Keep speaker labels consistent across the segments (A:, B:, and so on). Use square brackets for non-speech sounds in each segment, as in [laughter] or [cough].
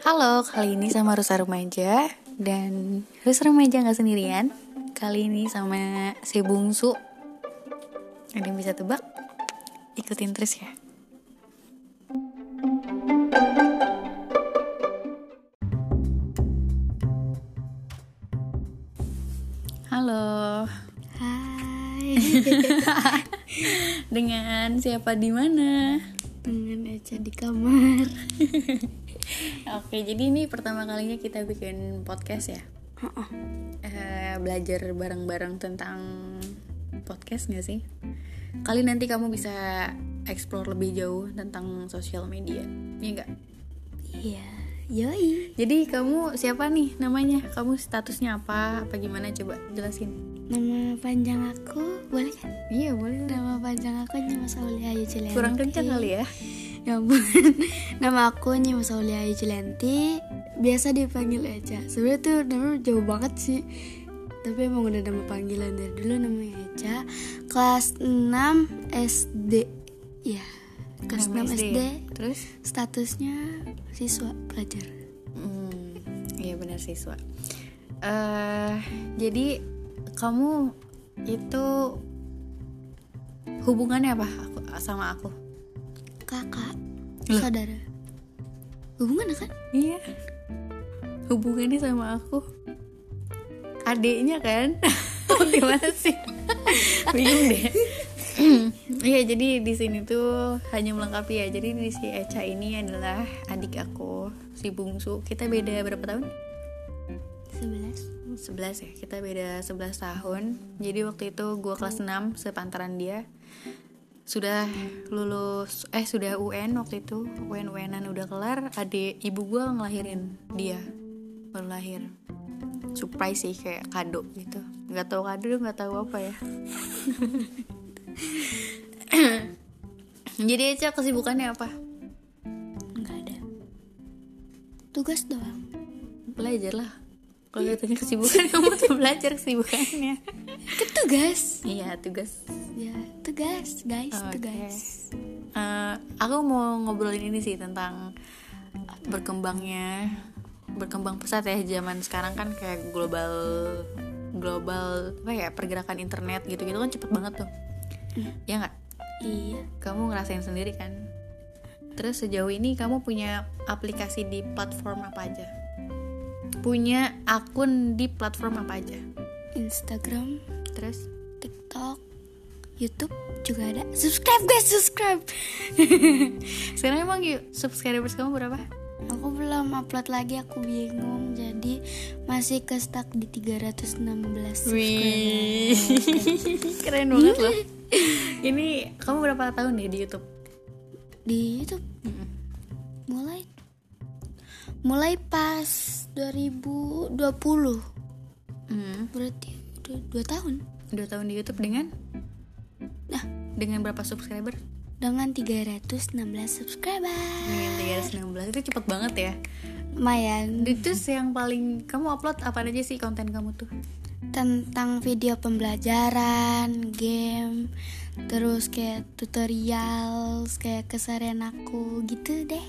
A: Halo, kali ini sama Rusa Remaja dan Rusa Remaja nggak sendirian. Kali ini sama si Bungsu. Ada yang bisa tebak? Ikutin terus ya. Halo, [laughs]
B: Hai,
A: dengan siapa di mana?
B: dengan Eca di kamar.
A: Oke, jadi ini pertama kalinya kita bikin podcast ya.
B: Heeh.
A: Eh, belajar bareng-bareng tentang podcast nggak sih? Kali nanti kamu bisa explore lebih jauh tentang sosial media, iya nggak?
B: Iya, yoi.
A: Jadi kamu siapa nih namanya? Kamu statusnya apa? Apa gimana? Coba jelasin.
B: Nama panjang aku boleh kan?
A: Iya boleh.
B: Nama panjang aku Nyimas Aulia Ayu Cilenti.
A: Kurang kencang kali ya?
B: Ya ampun. [laughs] Nama aku Nyimas Aulia Ayu Cilenti. Biasa dipanggil Eca. Sebenarnya tuh nama jauh banget sih. Tapi emang udah nama panggilan dari dulu namanya Eca. Kelas 6 SD. Ya, kelas
A: Nama
B: 6 SD.
A: Terus?
B: Statusnya siswa pelajar.
A: Hmm, iya benar siswa. eh jadi kamu itu hubungannya apa aku- sama aku?
B: kakak
A: Loh.
B: saudara hubungan kan
A: Iya. Hubungannya sama aku. Adiknya kan? [laughs] Gimana sih? Bingung deh. [clears throat] Iya, jadi di sini tuh hanya melengkapi ya. Jadi di si Eca ini adalah adik aku, si bungsu. Kita beda berapa tahun?
B: 11
A: 11 ya kita beda 11 tahun jadi waktu itu gue kelas 6 sepantaran dia sudah lulus eh sudah UN waktu itu UN UNan udah kelar adik ibu gue ngelahirin dia baru lahir surprise sih kayak kado gitu nggak tahu kado nggak tahu apa ya [coughs] jadi Eca kesibukannya apa
B: nggak ada tugas doang
A: belajar lah kalau katanya kesibukan [laughs] kamu tuh belajar kesibukannya
B: kan tugas
A: iya tugas
B: ya tugas guys
A: Oke.
B: tugas
A: Eh, aku mau ngobrolin ini sih tentang berkembangnya berkembang pesat ya zaman sekarang kan kayak global global apa ya pergerakan internet gitu-gitu kan cepet banget tuh ya nggak
B: iya
A: kamu ngerasain sendiri kan terus sejauh ini kamu punya aplikasi di platform apa aja punya akun di platform apa aja
B: Instagram
A: terus
B: TikTok YouTube juga ada subscribe guys subscribe
A: sekarang emang yuk subscribers kamu berapa
B: aku belum upload lagi aku bingung jadi masih ke stuck di 316
A: Wih,
B: subscriber
A: keren banget loh. Ini kamu berapa tahun deh di YouTube?
B: di YouTube mulai mulai pas 2020
A: Hmm,
B: berarti udah dua tahun
A: dua tahun di YouTube dengan
B: nah
A: dengan berapa subscriber?
B: dengan 316 subscriber
A: Dengan 316 itu cepet banget ya.
B: lumayan
A: Itu yang paling kamu upload apa aja sih konten kamu tuh?
B: tentang video pembelajaran game terus kayak tutorial kayak keseharian aku gitu deh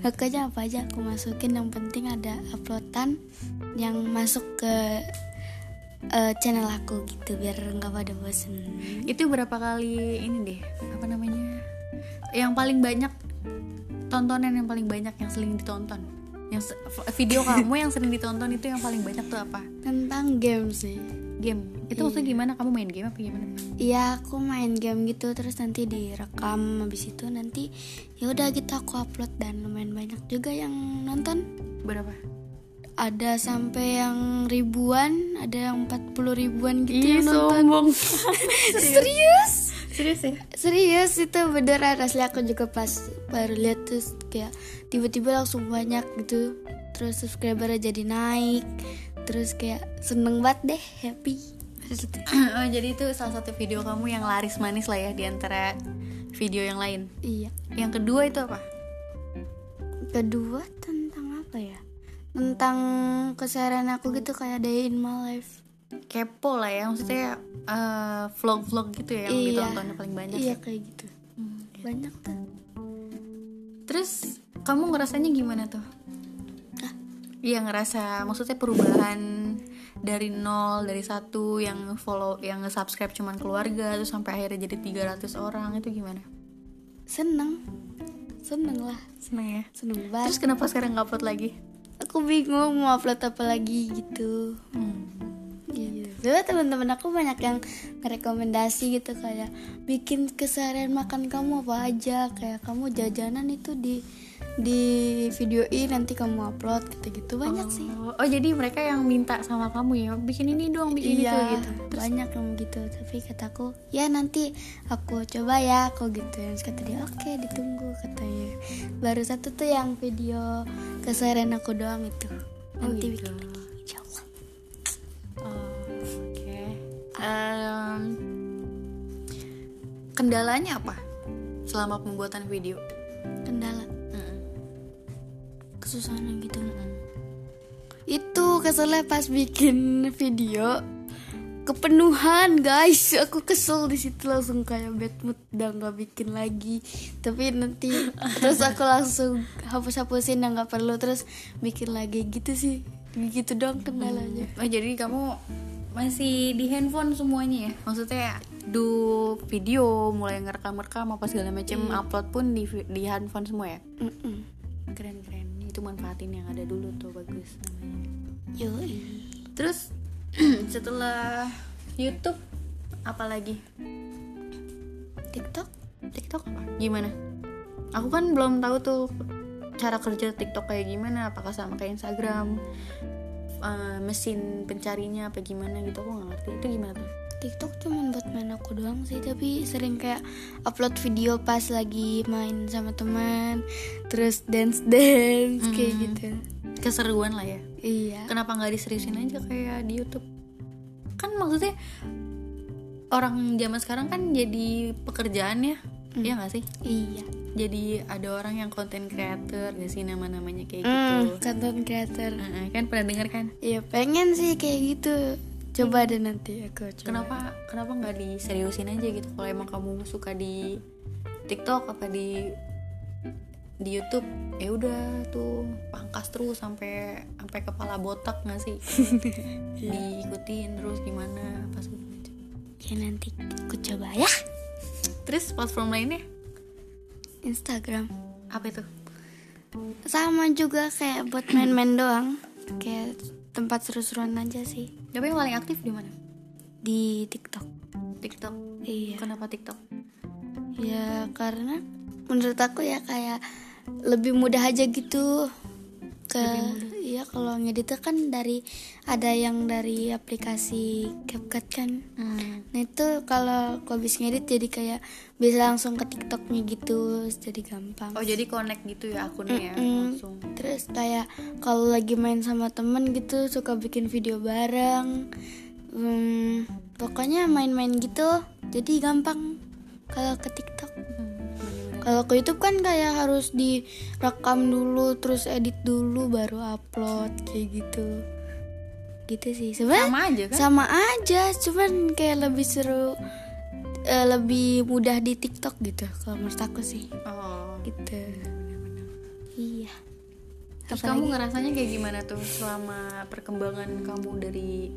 B: pokoknya apa aja aku masukin yang penting ada uploadan yang masuk ke eh, channel aku gitu biar nggak pada bosen
A: Itu berapa kali ini deh? Apa namanya? Yang paling banyak tontonan yang paling banyak yang sering ditonton. Yang se- [laughs] video kamu yang sering ditonton itu yang paling banyak tuh apa?
B: tentang game sih
A: Game. Itu waktu gimana? Kamu main game apa gimana?
B: Iya aku main game gitu terus nanti direkam habis itu nanti ya udah gitu aku upload dan lumayan banyak juga yang nonton
A: Berapa?
B: ada sampai yang ribuan ada yang 40 ribuan gitu
A: Ih,
B: yang nonton
A: Iya, [laughs] sombong.
B: [laughs] serius
A: Serius ya?
B: serius itu beneran asli aku juga pas baru lihat terus kayak tiba-tiba langsung banyak gitu terus subscribernya jadi naik terus kayak seneng banget deh happy gitu
A: oh, jadi itu salah satu video kamu yang laris manis lah ya di antara video yang lain.
B: iya
A: Yang kedua itu apa?
B: kedua tentang apa ya tentang keseharian aku gitu kayak day in my life
A: Kepo lah ya, maksudnya eh, vlog-vlog gitu ya yang
B: Iya.
A: ditonton paling banyak. ya.
B: iya kayak gitu
A: Hmm.
B: banyak tuh
A: Terus kamu ngerasanya gimana tuh? Iya ngerasa maksudnya perubahan dari nol dari satu yang follow yang subscribe cuman keluarga terus sampai akhirnya jadi 300 orang itu gimana?
B: seneng seneng lah
A: Seneng ya.
B: seneng banget
A: Terus kenapa sekarang nggak upload lagi?
B: aku bingung mau upload apa lagi gitu gitu
A: Iya.
B: teman-teman aku banyak yang rekomendasi gitu kayak bikin keseharian makan kamu apa aja kayak kamu jajanan itu di di videoin nanti kamu upload gitu gitu banyak sih
A: Oh, oh, jadi mereka yang minta sama kamu ya bikin ini dong bikin
B: iya
A: itu gitu. Terus
B: banyak yang gitu tapi kataku ya nanti aku coba ya aku gitu Terus kata dia oke ditunggu katanya baru satu tuh yang video keseharian aku doang itu
A: Oh,
B: nanti
A: gitu.
B: bikin lagi insyaallah
A: Oh, oke. Em, kendalanya apa selama pembuatan video?
B: kendala
A: Mm-mm.
B: kesusahan gitu
A: Mm-mm.
B: itu keselnya pas bikin video kepenuhan guys aku kesel di situ langsung kayak bad mood udah nggak bikin lagi tapi [laughs] nanti terus aku langsung hapus hapusin yang nggak perlu terus bikin lagi gitu sih begitu dong kendalanya
A: Oh, jadi kamu masih di handphone semuanya ya? Maksudnya do video, mulai ngerekam-rekam apa segala macam, upload pun di di handphone semua ya?
B: Mm-mm.
A: Keren-keren. Itu manfaatin yang ada dulu tuh bagus namanya.
B: Yoi.
A: Terus [clears throat] setelah YouTube apa lagi?
B: TikTok
A: TikTok apa? Gimana? Aku kan belum tahu tuh cara kerja TikTok kayak gimana, apakah sama kayak Instagram? eh, mesin pencarinya apa gimana gitu aku nggak ngerti itu gimana tuh
B: TikTok cuman buat main aku doang sih tapi sering kayak upload video pas lagi main sama teman terus dance dance kayak
A: Hmm.
B: gitu
A: keseruan lah ya
B: iya
A: kenapa nggak diseriusin aja kayak di YouTube kan maksudnya orang zaman sekarang kan jadi pekerjaan ya
B: Hmm.
A: iya nggak sih
B: iya
A: jadi ada orang yang konten creator gak sih nama-namanya kayak gitu
B: Mm, content creator
A: Heeh, kan pernah denger kan
B: Iya pengen sih kayak gitu coba deh nanti aku coba
A: kenapa kenapa nggak diseriusin aja gitu kalau emang kamu suka di TikTok apa di di YouTube ya udah tuh pangkas terus sampai sampai kepala botak nggak sih diikutin terus gimana apa segala macam
B: ya nanti aku coba ya
A: terus platform lainnya
B: Instagram
A: apa itu
B: sama juga kayak buat main-main doang kayak tempat seru-seruan aja sih
A: tapi yang paling aktif di mana
B: di TikTok
A: TikTok
B: iya
A: kenapa TikTok
B: ya karena menurut aku ya kayak lebih mudah aja gitu ke iya kalau ngedit kan dari ada yang dari aplikasi CapCut kan Nah itu kalau aku habis ngedit jadi kayak bisa langsung ke TikToknya gitu, jadi gampang.
A: oh jadi connect gitu ya akunnya ya
B: Mm-mm.
A: langsung
B: Terus kayak kalau lagi main sama temen gitu suka bikin video bareng. Hmm, pokoknya main-main gitu, jadi gampang kalau ke TikTok.
A: Hmm.
B: Kalau ke YouTube kan kayak harus direkam dulu, terus edit dulu, baru upload kayak gitu. Gitu sih. Sebenarnya
A: sama aja kan
B: sama aja cuman kayak lebih seru eh, lebih mudah di TikTok gitu kalau menurut aku sih
A: oh
B: gitu iya
A: Terus
B: Apalagi-
A: kamu ngerasanya kayak gimana tuh selama perkembangan kamu dari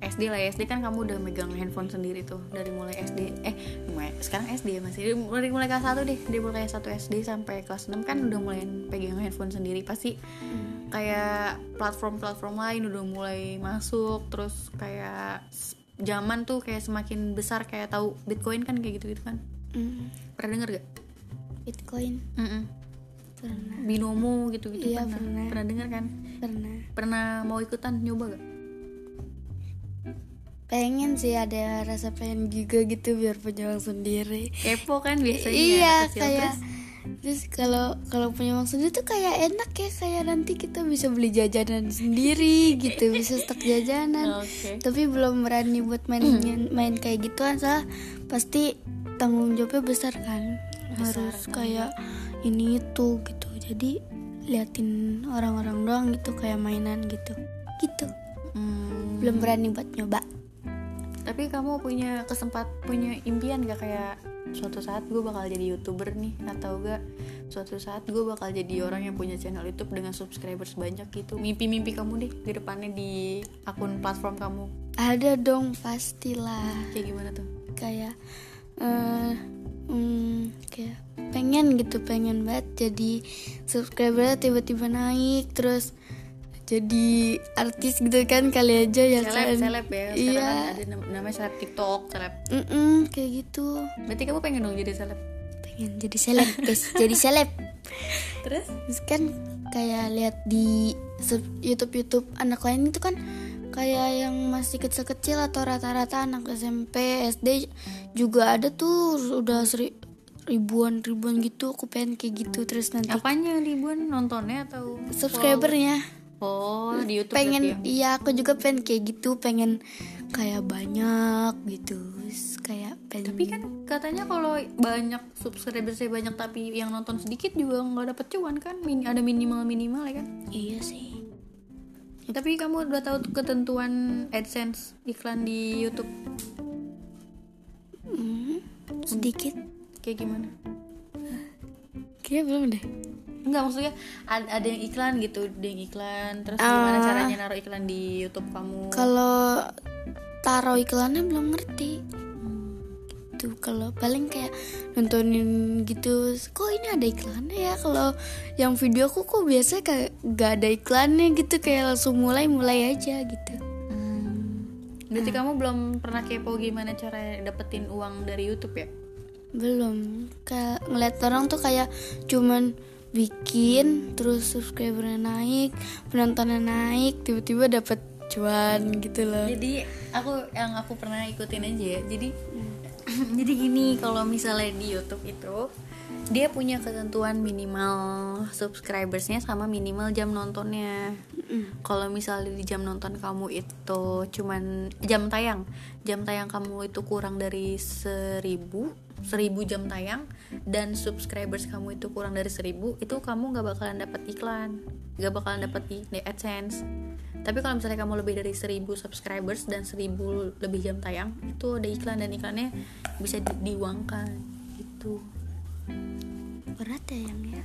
A: SD lah ya SD kan kamu udah megang handphone sendiri tuh dari mulai SD eh mulai- sekarang SD ya masih dari mulai, mulai kelas 1 deh dari mulai kelas 1 SD sampai kelas 6 kan udah mulai pegang handphone sendiri pasti
B: Hmm.
A: kayak platform-platform lain udah mulai masuk terus kayak s- zaman tuh kayak semakin besar kayak tahu Bitcoin kan kayak gitu-gitu kan
B: Mm,
A: pernah denger gak?
B: Bitcoin
A: Mm-mm.
B: pernah
A: Binomo gitu-gitu
B: Iya,
A: pernah
B: pernah.
A: pernah denger kan
B: pernah
A: pernah mau ikutan nyoba gak?
B: pengen sih ada rasa pengen juga gitu biar punya uang sendiri
A: kepo kan biasanya
B: iya
A: anak kecil.
B: kayak
A: Terus,
B: terus kalau kalau punya uang sendiri tuh kayak enak ya kayak nanti kita bisa beli jajanan sendiri gitu bisa stok jajanan
A: Oke.
B: tapi belum berani buat main main kayak gituan soalnya pasti tanggung jawabnya besar kan
A: Besar,
B: harus kayak ini itu gitu jadi liatin orang-orang doang gitu kayak mainan gitu gitu
A: hmm,
B: belum berani buat nyoba
A: tapi kamu punya kesempat punya impian gak kayak suatu saat gue bakal jadi youtuber nih atau gak suatu saat gue bakal jadi orang yang punya channel YouTube dengan subscriber sebanyak gitu mimpi-mimpi kamu deh di depannya di akun platform kamu
B: Ada dong pastilah
A: kayak gimana tuh
B: kayak eh, mm, kayak pengen gitu pengen banget jadi subscriber tiba-tiba naik terus jadi artis gitu kan kali aja ya
A: seleb
B: kan
A: seleb ya sekarang
B: iya
A: kan ada nam- namanya seleb TikTok seleb
B: Mm-mm, kayak gitu
A: berarti kamu pengen dong jadi seleb
B: pengen jadi seleb guys jadi seleb
A: terus
B: Terus kan kayak lihat di sub- YouTube-YouTube anak lain itu kan kayak yang masih kecil-kecil atau rata-rata anak SMP, SD juga ada tuh udah seri- ribuan-ribuan gitu. Aku pengen kayak gitu terus nanti
A: apanya ribuan nontonnya atau
B: subscribernya
A: oh di YouTube
B: pengen
A: berarti ya?
B: iya aku juga pengen kayak gitu, pengen kayak banyak gitu. Terus kayak pengen
A: tapi kan katanya kalau banyak subscriber saya banyak tapi yang nonton sedikit juga nggak dapet cuan kan Min- ada minimal minimal ya kan
B: iya sih.
A: tapi kamu udah tahu tuh ketentuan AdSense iklan di YouTube
B: Hmm, sedikit.
A: kayak gimana
B: Kayaknya belum deh.
A: Enggak maksudnya ada, ada yang iklan gitu, ada yang iklan. Terus gimana caranya naruh iklan di YouTube kamu?
B: kalau taruh iklannya belum ngerti gitu kalau paling kayak nontonin gitu kok ini ada iklannya ya kalau yang video aku kok biasanya kayak gak ada iklannya gitu kayak langsung mulai mulai aja gitu
A: Berarti kamu belum pernah kepo gimana cara dapetin uang dari YouTube ya?
B: belum kayak ngeliat orang tuh kayak cuman bikin terus subscribernya naik penontonnya naik tiba-tiba dapet cuan gitu loh
A: Jadi aku yang aku pernah ikutin aja ya. Jadi [laughs] jadi gini kalau misalnya di YouTube itu dia punya ketentuan minimal subscribersnya sama minimal jam nontonnya.
B: Mm.
A: Kalau misalnya di jam nonton kamu itu cuman jam tayang, jam tayang kamu itu kurang dari seribu, seribu jam tayang dan subscribers kamu itu kurang dari seribu, itu kamu nggak bakalan dapat iklan, nggak bakalan dapat i- adsense. Tapi kalau misalnya kamu lebih dari 1000 subscribers dan 1000 lebih jam tayang, itu ada iklan dan iklannya bisa di- diuangkan gitu.
B: berat ya yang ya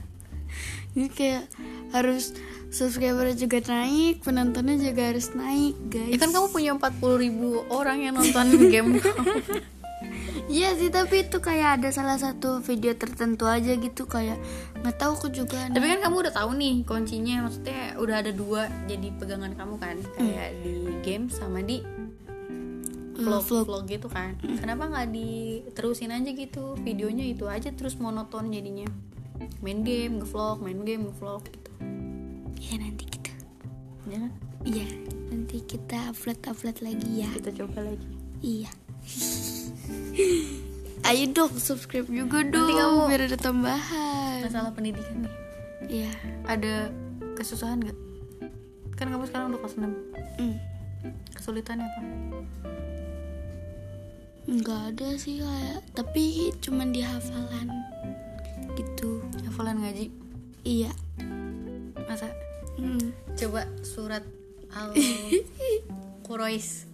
B: ini kayak harus subscriber juga naik penontonnya juga harus naik guys
A: Ya kan kamu punya 40.000 orang yang nonton game kamu.
B: iya sih tapi itu kayak ada salah satu video tertentu aja gitu kayak nggak tahu aku juga
A: Tapi kan kamu udah tahu nih kuncinya, maksudnya udah ada dua jadi pegangan kamu kan, kayak di game sama di vlog
B: vlog.
A: vlog gitu kan. Kenapa nggak diterusin aja gitu videonya itu aja terus monoton jadinya. Main game, ngevlog, main game, ngevlog gitu.
B: ya nanti kita
A: Jangan
B: iya nanti kita upload upload lagi ya
A: kita coba lagi.
B: iya [laughs] ayo dong subscribe juga dong
A: Nanti kamu-
B: biar ada tambahan
A: Masalah pendidikan nih.
B: iya
A: ada kesusahan nggak? Kan kamu sekarang udah kelas ya, 6
B: Mm.
A: Kesulitannya apa?
B: nggak ada sih kayak tapi cuman di hafalan gitu
A: Hafalan ngaji
B: iya
A: Masa?
B: Hmm.
A: Coba [laughs] surat al Quraish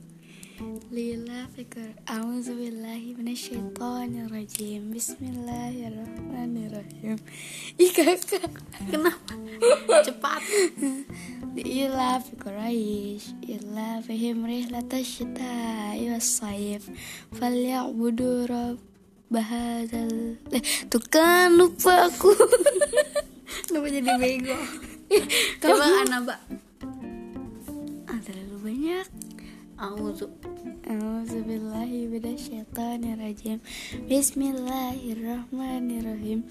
B: Lila fikir A'udzu billahi minasyaitonir rajim. Bismillahirrahmanirrahim. [laughs] Ih kakak.
A: Kenapa? Cepat
B: Lila fikir Aish. Ila fihim rihlatasy syita'i was-sayf. Falyabudu rabbahadzal. Eh, tuh kan lupa aku. [laughs]
A: Kenapa jadi bego?
B: Kamu
A: Coba anaba
B: ah, terlalu banyak.
A: Auzu
B: A'udzubillahi minasyaitonirrajim. Bismillahirrahmanirrahim.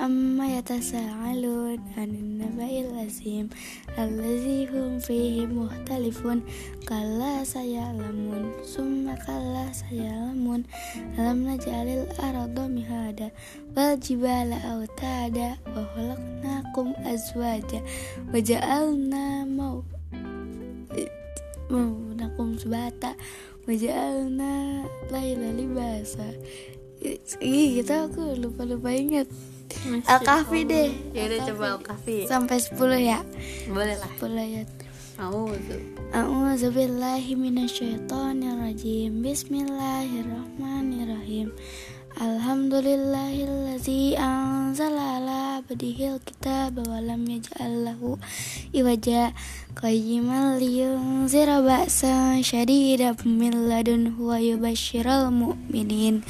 B: Amma yatasaalun 'anil naba'il azim allazi hum fihi muhtalifun kalla sayalamun summa kalla sayalamun alam naj'alil arda mihada wal jibala autada wa khalaqnakum azwaja wa ja'alna mau menggunakan sebata wajalna laila libasa Ih, gitu aku lupa-lupa ingat Al-Kahfi deh
A: Ya udah Ya coba al kafi
B: Sampai 10 ya
A: Boleh lah
B: 10 ya
A: Auzu.
B: A'udzubillahi minasyaitonirrajim. Bismillahirrahmanirrahim. Alhamdulillahillazi anzala ala abdihil kitab wa lam yaj'al lahu iwaja qayyiman liyunzira ba'san syadidan min ladunhu wa yubashshiral mu'minin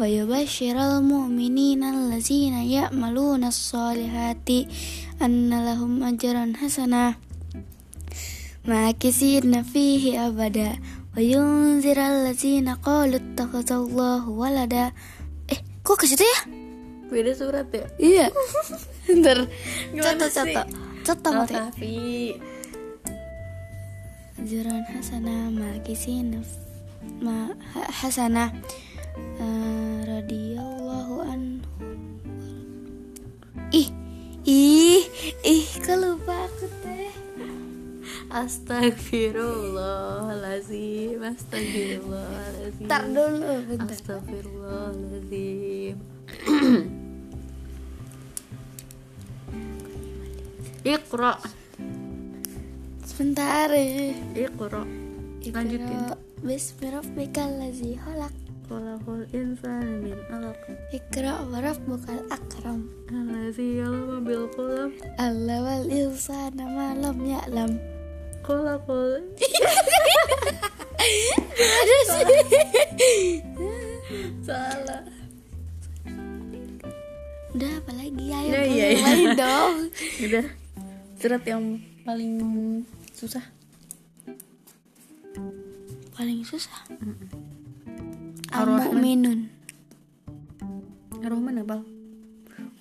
B: wa yubashshiral mu'minina allazina ya'maluna as-solihati anna lahum ajran hasanah ماكثين فيه أبدا وينذر الذين قالوا اتخذ الله ولدا eh kok ke situ ya
A: Beda surat ya?
B: iya [laughs] ntar
A: Gimana
B: catat
A: sih?
B: catat catat mati
A: Tapi
B: Juran Hasanah Makisin ma Ha- Hasanah Eh, radhiyallahu anhu ih ih ih kok lupa aku teh
A: Astagfirullahalazim. Astagfirullahalazim.
B: Ntar dulu bentar
A: Astagfirullahaladzim Iqra
B: sebentar eh.
A: Iqra Lanjutin
B: Iqra Bismi rabbikal ladzi khalaq.
A: Qalahul insan min alaq
B: Iqra wa rabbukal akram.
A: Alladzi yalama bil qalam
B: Allawal insana ma lam ya'lam.
A: Qalahul
B: Ada sih.
A: Salah
B: Udah apa lagi? Ayo
A: Udah,
B: kamu
A: iya, iya.
B: mulai dong.
A: Udah Surat yang paling susah
B: Paling susah.
A: Ar-Rahman.
B: Al-Mu'minun.
A: Ar-Rahman apa?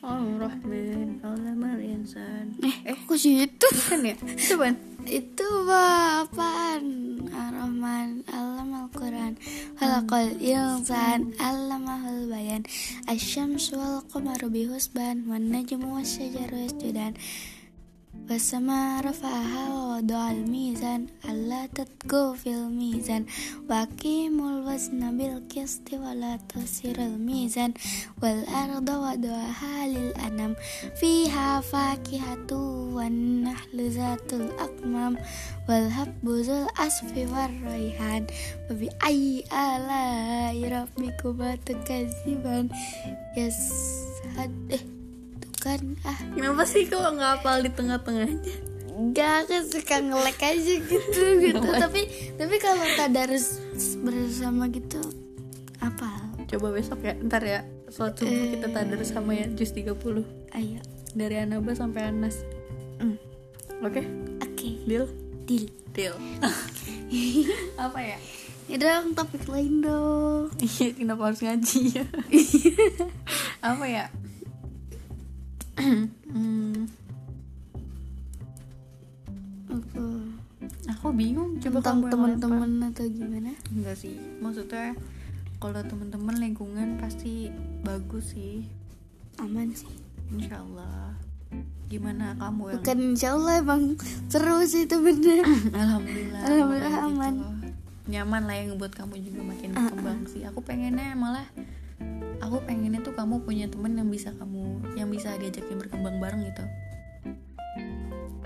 A: Ar-Rahman Al-Rahman insan
B: Eh, kok situ?
A: Bukan ya? Itu apaan?
B: Itu apa- apaan? Ar-Rahman, Allama Al-Quran, Halakal Insan, Allamahul Bayan, Asyams wal Qamaru bihusban, Wan Najmu wasyajaru yasjudan, Wasama rafa'aha wa wada'al mizan Alla tatgu fil mizan Wa qimul wazna bil kisti wa la tasiril mizan Wal arda wa du'aha lil anam Fiha fakihatu wa nahlu zatul akmam Wal habbu zul asfi war raihan Wabi ayyi alai rabbikuma tukaziban Yashad Eh, bukan ah
A: Kenapa sih kok nggak hafal di tengah-tengahnya?
B: Gak, aku suka ngelek aja
A: [laughs]
B: gitu gitu. tapi tapi kalau tadarus bersama gitu apa?
A: Coba besok ya, ntar ya Sholat subuh kita tadar sama ya Jus 30
B: Ayo.
A: Dari Anaba sampai Anas
B: Mm.
A: Oke,
B: Oke,
A: deal?
B: deal.
A: Hmm. [laughs] Deal Apa ya?
B: Ya dong, topik lain dong.
A: Iya, kenapa harus [laughs] ngaji ya? Apa ya? Hmm,
B: Apa?
A: aku bingung coba
B: Tentang
A: kamu yang lempar.
B: teman-teman atau gimana?
A: enggak sih maksudnya kalau teman-teman lingkungan pasti bagus sih
B: Aman sih.
A: insyaallah gimana kamu yang
B: Bukan insya Allah emang [laughs] seru sih itu
A: [clears throat]
B: bener.
A: Alhamdulillah.
B: Alhamdulillah
A: makanya
B: aman. Ah,
A: gitu. Nyaman lah yang ngebuat kamu juga makin berkembang sih. Aku pengennya malah aku pengennya tuh kamu punya temen yang bisa kamu yang bisa diajakin berkembang bareng gitu.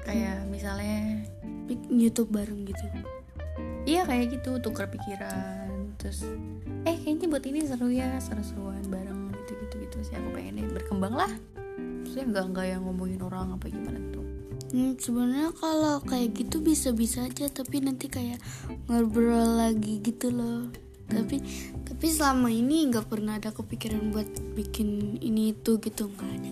A: Kayak misalnya
B: Bikin YouTube bareng gitu.
A: iya kayak gitu tukar pikiran terus eh kayaknya buat ini seru ya seru-seruan bareng gitu gitu gitu sih aku pengennya berkembang lah terus nggak nggak yang ngomongin orang apa gimana tuh
B: Hmm, sebenarnya kalau kayak gitu bisa-bisa aja tapi nanti kayak ngobrol lagi gitu loh tapi tapi selama ini nggak pernah ada kepikiran buat bikin ini itu gitu nggak ada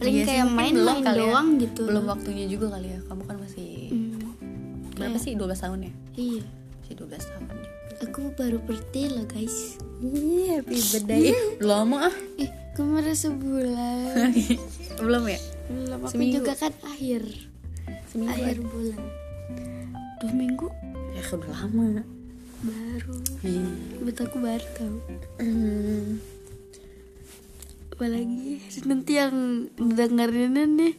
B: paling
A: Iya sih,
B: kayak
A: mungkin belum
B: main-main
A: kali ya.
B: doang gitu
A: belum
B: loh.
A: waktunya juga kali ya kamu kan masih
B: Hmm,
A: berapa sih 12 tahun ya
B: iya
A: Masih 12 tahun
B: aku baru birthday loh guys
A: Iya, happy birthday Lama ah [laughs]
B: ih kemarin sebulan
A: Belum ya?
B: belum aku
A: Seminggu.
B: juga kan akhir akhir bulan dua minggu
A: Ya udah lama Iya.
B: baru buat aku baru tau apalagi nanti yang dengerinnya nih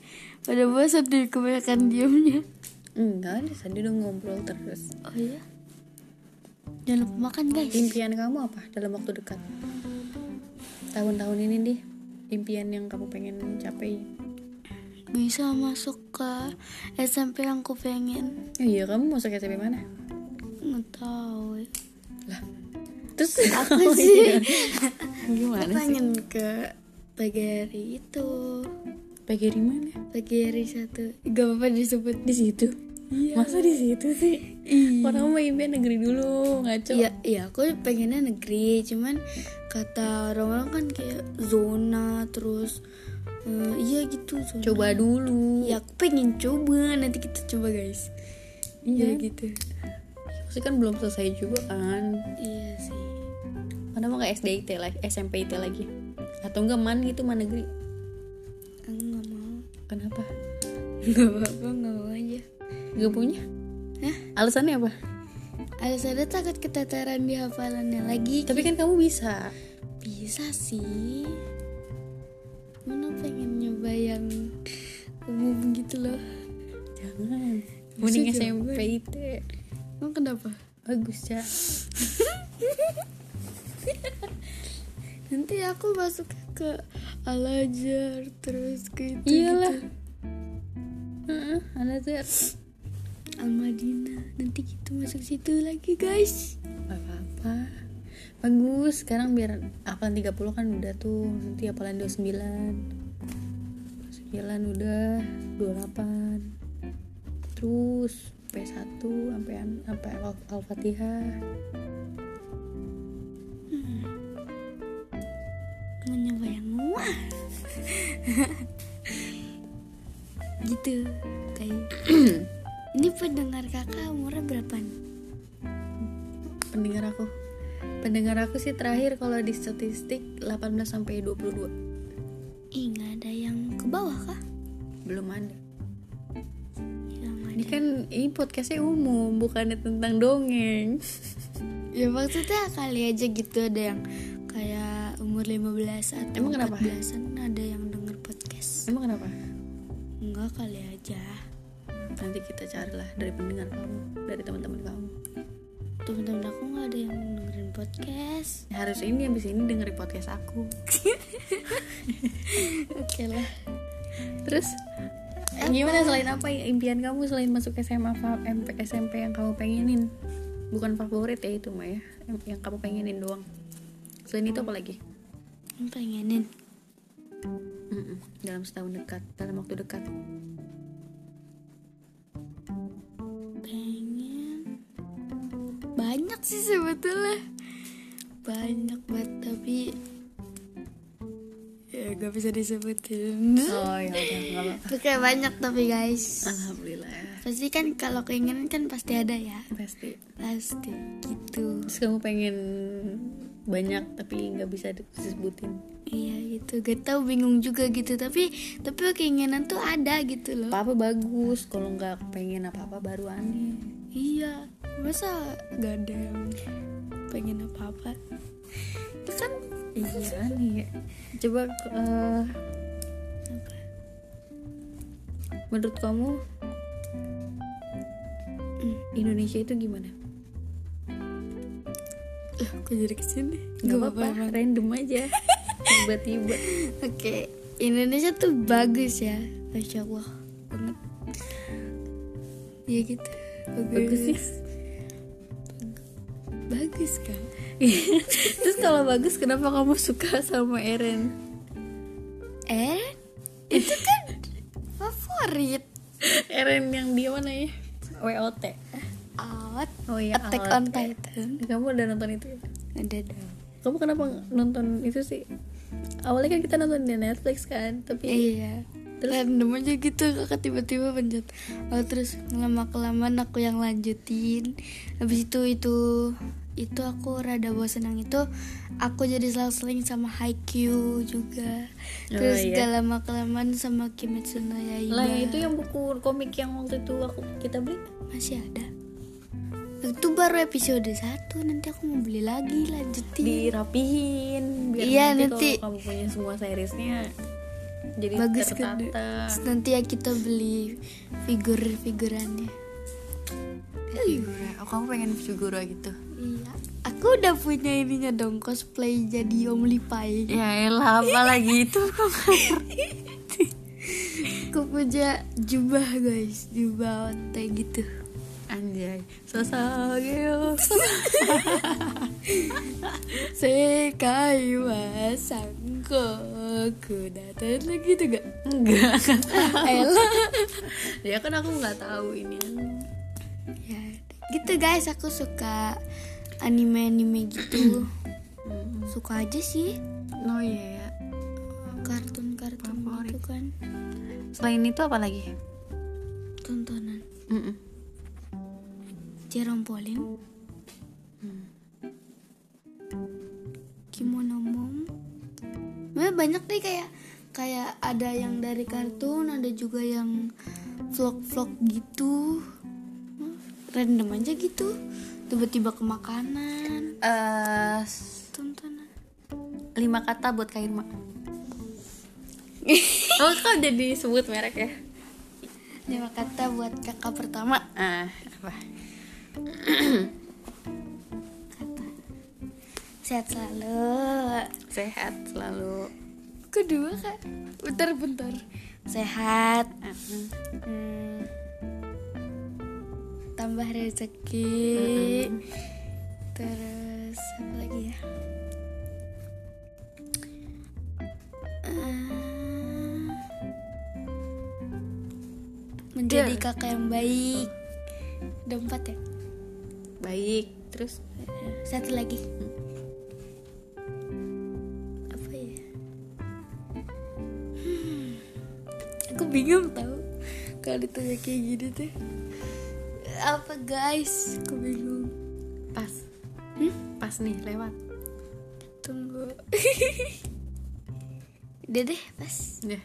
B: pada bosan deh kebanyakan diamnya
A: Enggak, ada tadi udah ngobrol terus
B: oh iya jangan lupa makan guys
A: Impian kamu apa dalam waktu dekat? Tahun-tahun ini deh Impian yang kamu pengen capai
B: bisa masuk ke SMP yang ku pengen
A: iya kamu masuk SMP mana
B: nggak tahu
A: terus [laughs] Oh iya.
B: apa sih [laughs]
A: gimana sih
B: Aku Oh iya. pengen ke PGRI itu
A: PGRI mana
B: PGRI satu gak apa-apa disebut
A: di situ masa di situ sih orang mau impian negeri dulu ngaco
B: Iya, iya aku pengennya negeri, cuman kata orang-orang kan kayak zona terus eh, iya gitu zona.
A: coba dulu
B: Ya aku pengen coba, nanti kita coba guys.
A: Iya.
B: Ya, gitu.
A: Pasti kan belum selesai juga kan
B: Iya sih.
A: kenapa nggak SDIT lagi SMP IT lagi atau enggak man gitu man negeri
B: Aku nggak mau.
A: kenapa
B: Gak apa-apa, [laughs] nggak mau aja.
A: gak punya
B: Hah?
A: alasannya apa
B: Alasannya takut keteteran di hafalannya lagi.
A: tapi kan kamu bisa
B: bisa sih. Mana pengen nyoba yang umum gitu loh.
A: jangan mending
B: Bisa
A: SMP IT
B: Emang kenapa?
A: bagus ya
B: Nanti aku masuk ke Al-Azhar terus ke itu
A: iyalah
B: gitu.
A: Iya Heeh, ada tuh
B: Al-Madinah. Nanti kita masuk situ lagi, guys.
A: Gak apa-apa Bagus, sekarang biar apalan 30 kan udah tuh Nanti apalan 29 9 udah 28 Terus P1 sampai sampai Al- Al-Fatihah
B: Mau nyoba [laughs] yang wah. gitu, [clears throat] guys. Ini pendengar kakak umurnya berapa nih?
A: Pendengar aku Pendengar aku sih terakhir kalau di statistik 18 sampai 22
B: Ih, nggak ada yang ke bawah kah?
A: Belum ada
B: Ya, nggak
A: Ini
B: ada.
A: kan ini podcastnya umum Bukannya tentang dongeng
B: Ya maksudnya kali aja gitu ada yang kayak umur 15 atau
A: Emang kenapa?
B: 14-an ada yang denger podcast.
A: Emang kenapa?
B: Enggak kali aja.
A: Nanti kita carilah dari pendengar kamu Dari teman-teman kamu
B: Temen-temen aku nggak ada yang dengerin podcast.
A: harus ini habis ini dengerin podcast aku
B: [laughs] Oke lah.
A: terus Eh, gimana selain apa ya, impian kamu selain masuk SMA fa- MP, SMP yang kamu pengenin bukan favorit ya itu mah ya em- yang kamu pengenin doang selain itu apa lagi
B: Pengenin
A: Mm-mm, dalam setahun dekat dalam waktu dekat
B: pengen banyak sih sebetulnya banyak banget tapi ya gak bisa disebutin
A: oh ya udah
B: Oke banyak tapi guys
A: alhamdulillah
B: pasti kan kalau keinginan kan pasti ada ya
A: pasti
B: pasti gitu
A: terus kamu pengen banyak tapi nggak bisa disebutin
B: iya gitu gak tau bingung juga gitu tapi tapi keinginan tuh ada gitu loh
A: apa apa bagus kalau nggak pengen apa apa baru aneh
B: Iya, masa gak ada yang pengen apa-apa? Itu kan
A: iya aneh ya. coba eh, Menurut kamu Indonesia itu gimana?
B: Loh, eh, kok jadi kesini?
A: Gak apa-apa, random [laughs] aja Tiba-tiba
B: Oke, Indonesia tuh bagus ya Masya Allah banget Iya gitu
A: Bagus sih
B: Bagus kan?
A: Terus kalau bagus kenapa kamu suka sama Eren?
B: Eh, itu kan favorit
A: Eren yang dia mana ya? WOT
B: Out
A: Oh [laughs] iya
B: Attack
A: Out.
B: on Titan
A: Kamu udah nonton itu ya?
B: Ada dong
A: Kamu kenapa nonton itu sih? Awalnya kan kita nonton di Netflix kan Tapi
B: Iya. Terus random aja gitu kakak tiba-tiba pencet. Oh, terus lama kelamaan aku yang lanjutin. Habis itu itu itu aku rada bosan yang itu aku jadi selang-seling sama Haikyuu juga.
A: Oh,
B: Terus
A: iya.
B: gak lama kelamaan sama Kimetsu no Yaiba.
A: Lah itu ya? yang buku komik yang waktu itu aku kita beli
B: masih ada. Itu baru episode 1 nanti aku mau beli lagi lanjutin.
A: Dirapihin biar
B: Iya,
A: nanti,
B: nanti.
A: kalau kamu punya semua seriesnya jadi
B: Bagus kan?
A: tertata.
B: Terus nanti ya kita beli figur-figurannya.
A: Figura. Oh, kamu pengen figura gitu?
B: Iya, aku udah punya ininya dong cosplay jadi Om Lipai.
A: Ya elah, apa lagi itu?
B: aku punya jubah guys jubah kayak gitu
A: Anjay, sosok gitu.
B: sekai masangko kuda lagi tuh gak [laughs]
A: Enggak.
B: Elah.
A: ya kan aku nggak tahu ini.
B: ya gitu guys aku suka anime anime gitu suka aja sih
A: No ya.
B: kartun kartun
A: Favorit.
B: gitu kan
A: Selain itu apa lagi?
B: tontonan
A: Mm-mm.
B: Jerome Polim Kimono Mom Sebenarnya banyak deh kayak kayak ada yang dari kartun ada juga yang vlog vlog gitu Hmm, random aja gitu tiba-tiba ke makanan
A: Eh, s-
B: tontonan
A: lima kata buat kain mak. [laughs] oh kok udah disebut merek ya?
B: lima kata buat kakak pertama
A: Ah, apa?
B: sehat selalu
A: Sehat selalu.
B: kedua kak bentar bentar sehat
A: Ah, mm.
B: Hmm. tambah rezeki terus apa lagi ya Eh, menjadi
A: Dear.
B: kakak yang baik ada empat ya
A: Baik. Terus
B: satu lagi apa ya Hmm. aku bingung tau kalau ditanya kayak gini tuh apa guys aku bingung
A: pas. Hmm? Pas nih lewat.
B: tunggu [laughs] udah deh pas
A: Ya.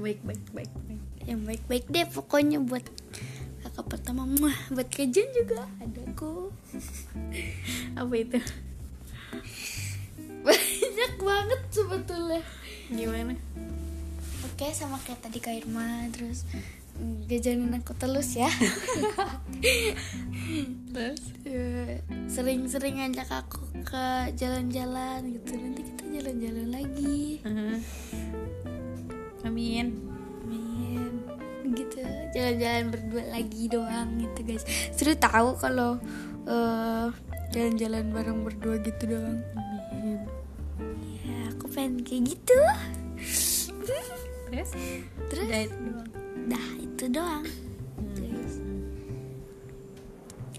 A: Baik, baik, baik, baik.
B: yang baik-baik deh pokoknya buat kakak pertama mah buat kajian juga ada kok [laughs]
A: Apa itu?
B: banyak banget sebetulnya
A: Gimana?
B: Oke, sama kayak tadi Kak Irma, terus mm, jajanin aku terus ya.
A: Terus?
B: Eh, Sering-sering ajak aku ke jalan-jalan gitu. Nanti kita jalan-jalan lagi.
A: Mhm. Amin.
B: Amin. Gitu, jalan-jalan berdua lagi doang gitu, guys. Seru tahu kalau eh, jalan-jalan bareng berdua gitu doang.
A: Amin.
B: Ya, aku pengen kayak gitu.
A: Terus?
B: Terus
A: Udah itu doang.
B: dah itu doang. Terus,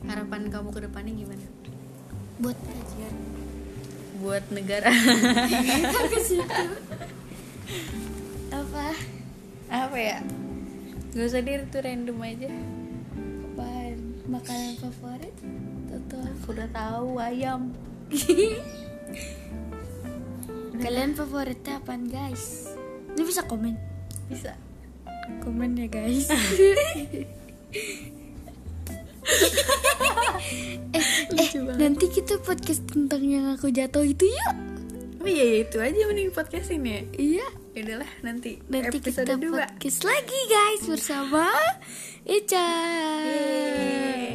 A: Harapan kamu ke depannya gimana?
B: buat kajian
A: Buat negara.
B: ke situ. Apa?
A: Apa ya? Gak usah diri tuh random aja.
B: Apaan? Makanan favorit? Toto.
A: Aku udah tahu ayam.
B: Kalian favoritnya apaan guys? Ini bisa komen.
A: Bisa.
B: Komen ya [laughs] guys. eh,
A: Lucu banget.
B: nanti kita podcast tentang yang aku jatuh itu yuk.
A: Oh iya ya, itu aja mending podcast ini. ya.
B: Iya.
A: Ya udahlah nanti,
B: Nanti
A: episode
B: kita
A: 2.
B: podcast lagi guys bersama Ica.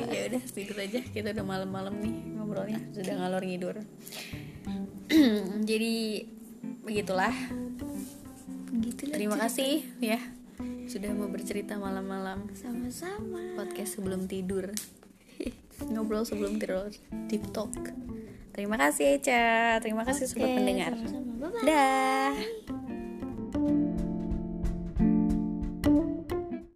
A: Ya udah tidur aja. Kita udah malam-malam nih ngobrolnya. Sudah ngalor ngidur. [clears throat] Jadi begitulah.
B: Begitulah.
A: Terima
B: cerita.
A: kasih ya sudah mau bercerita malam-malam
B: Sama-sama.
A: podcast sebelum tidur ngobrol sebelum tidur deep talk terima kasih Eca terima kasih sobat
B: Oke,
A: pendengar
B: sama-sama. Bye-bye.
A: dah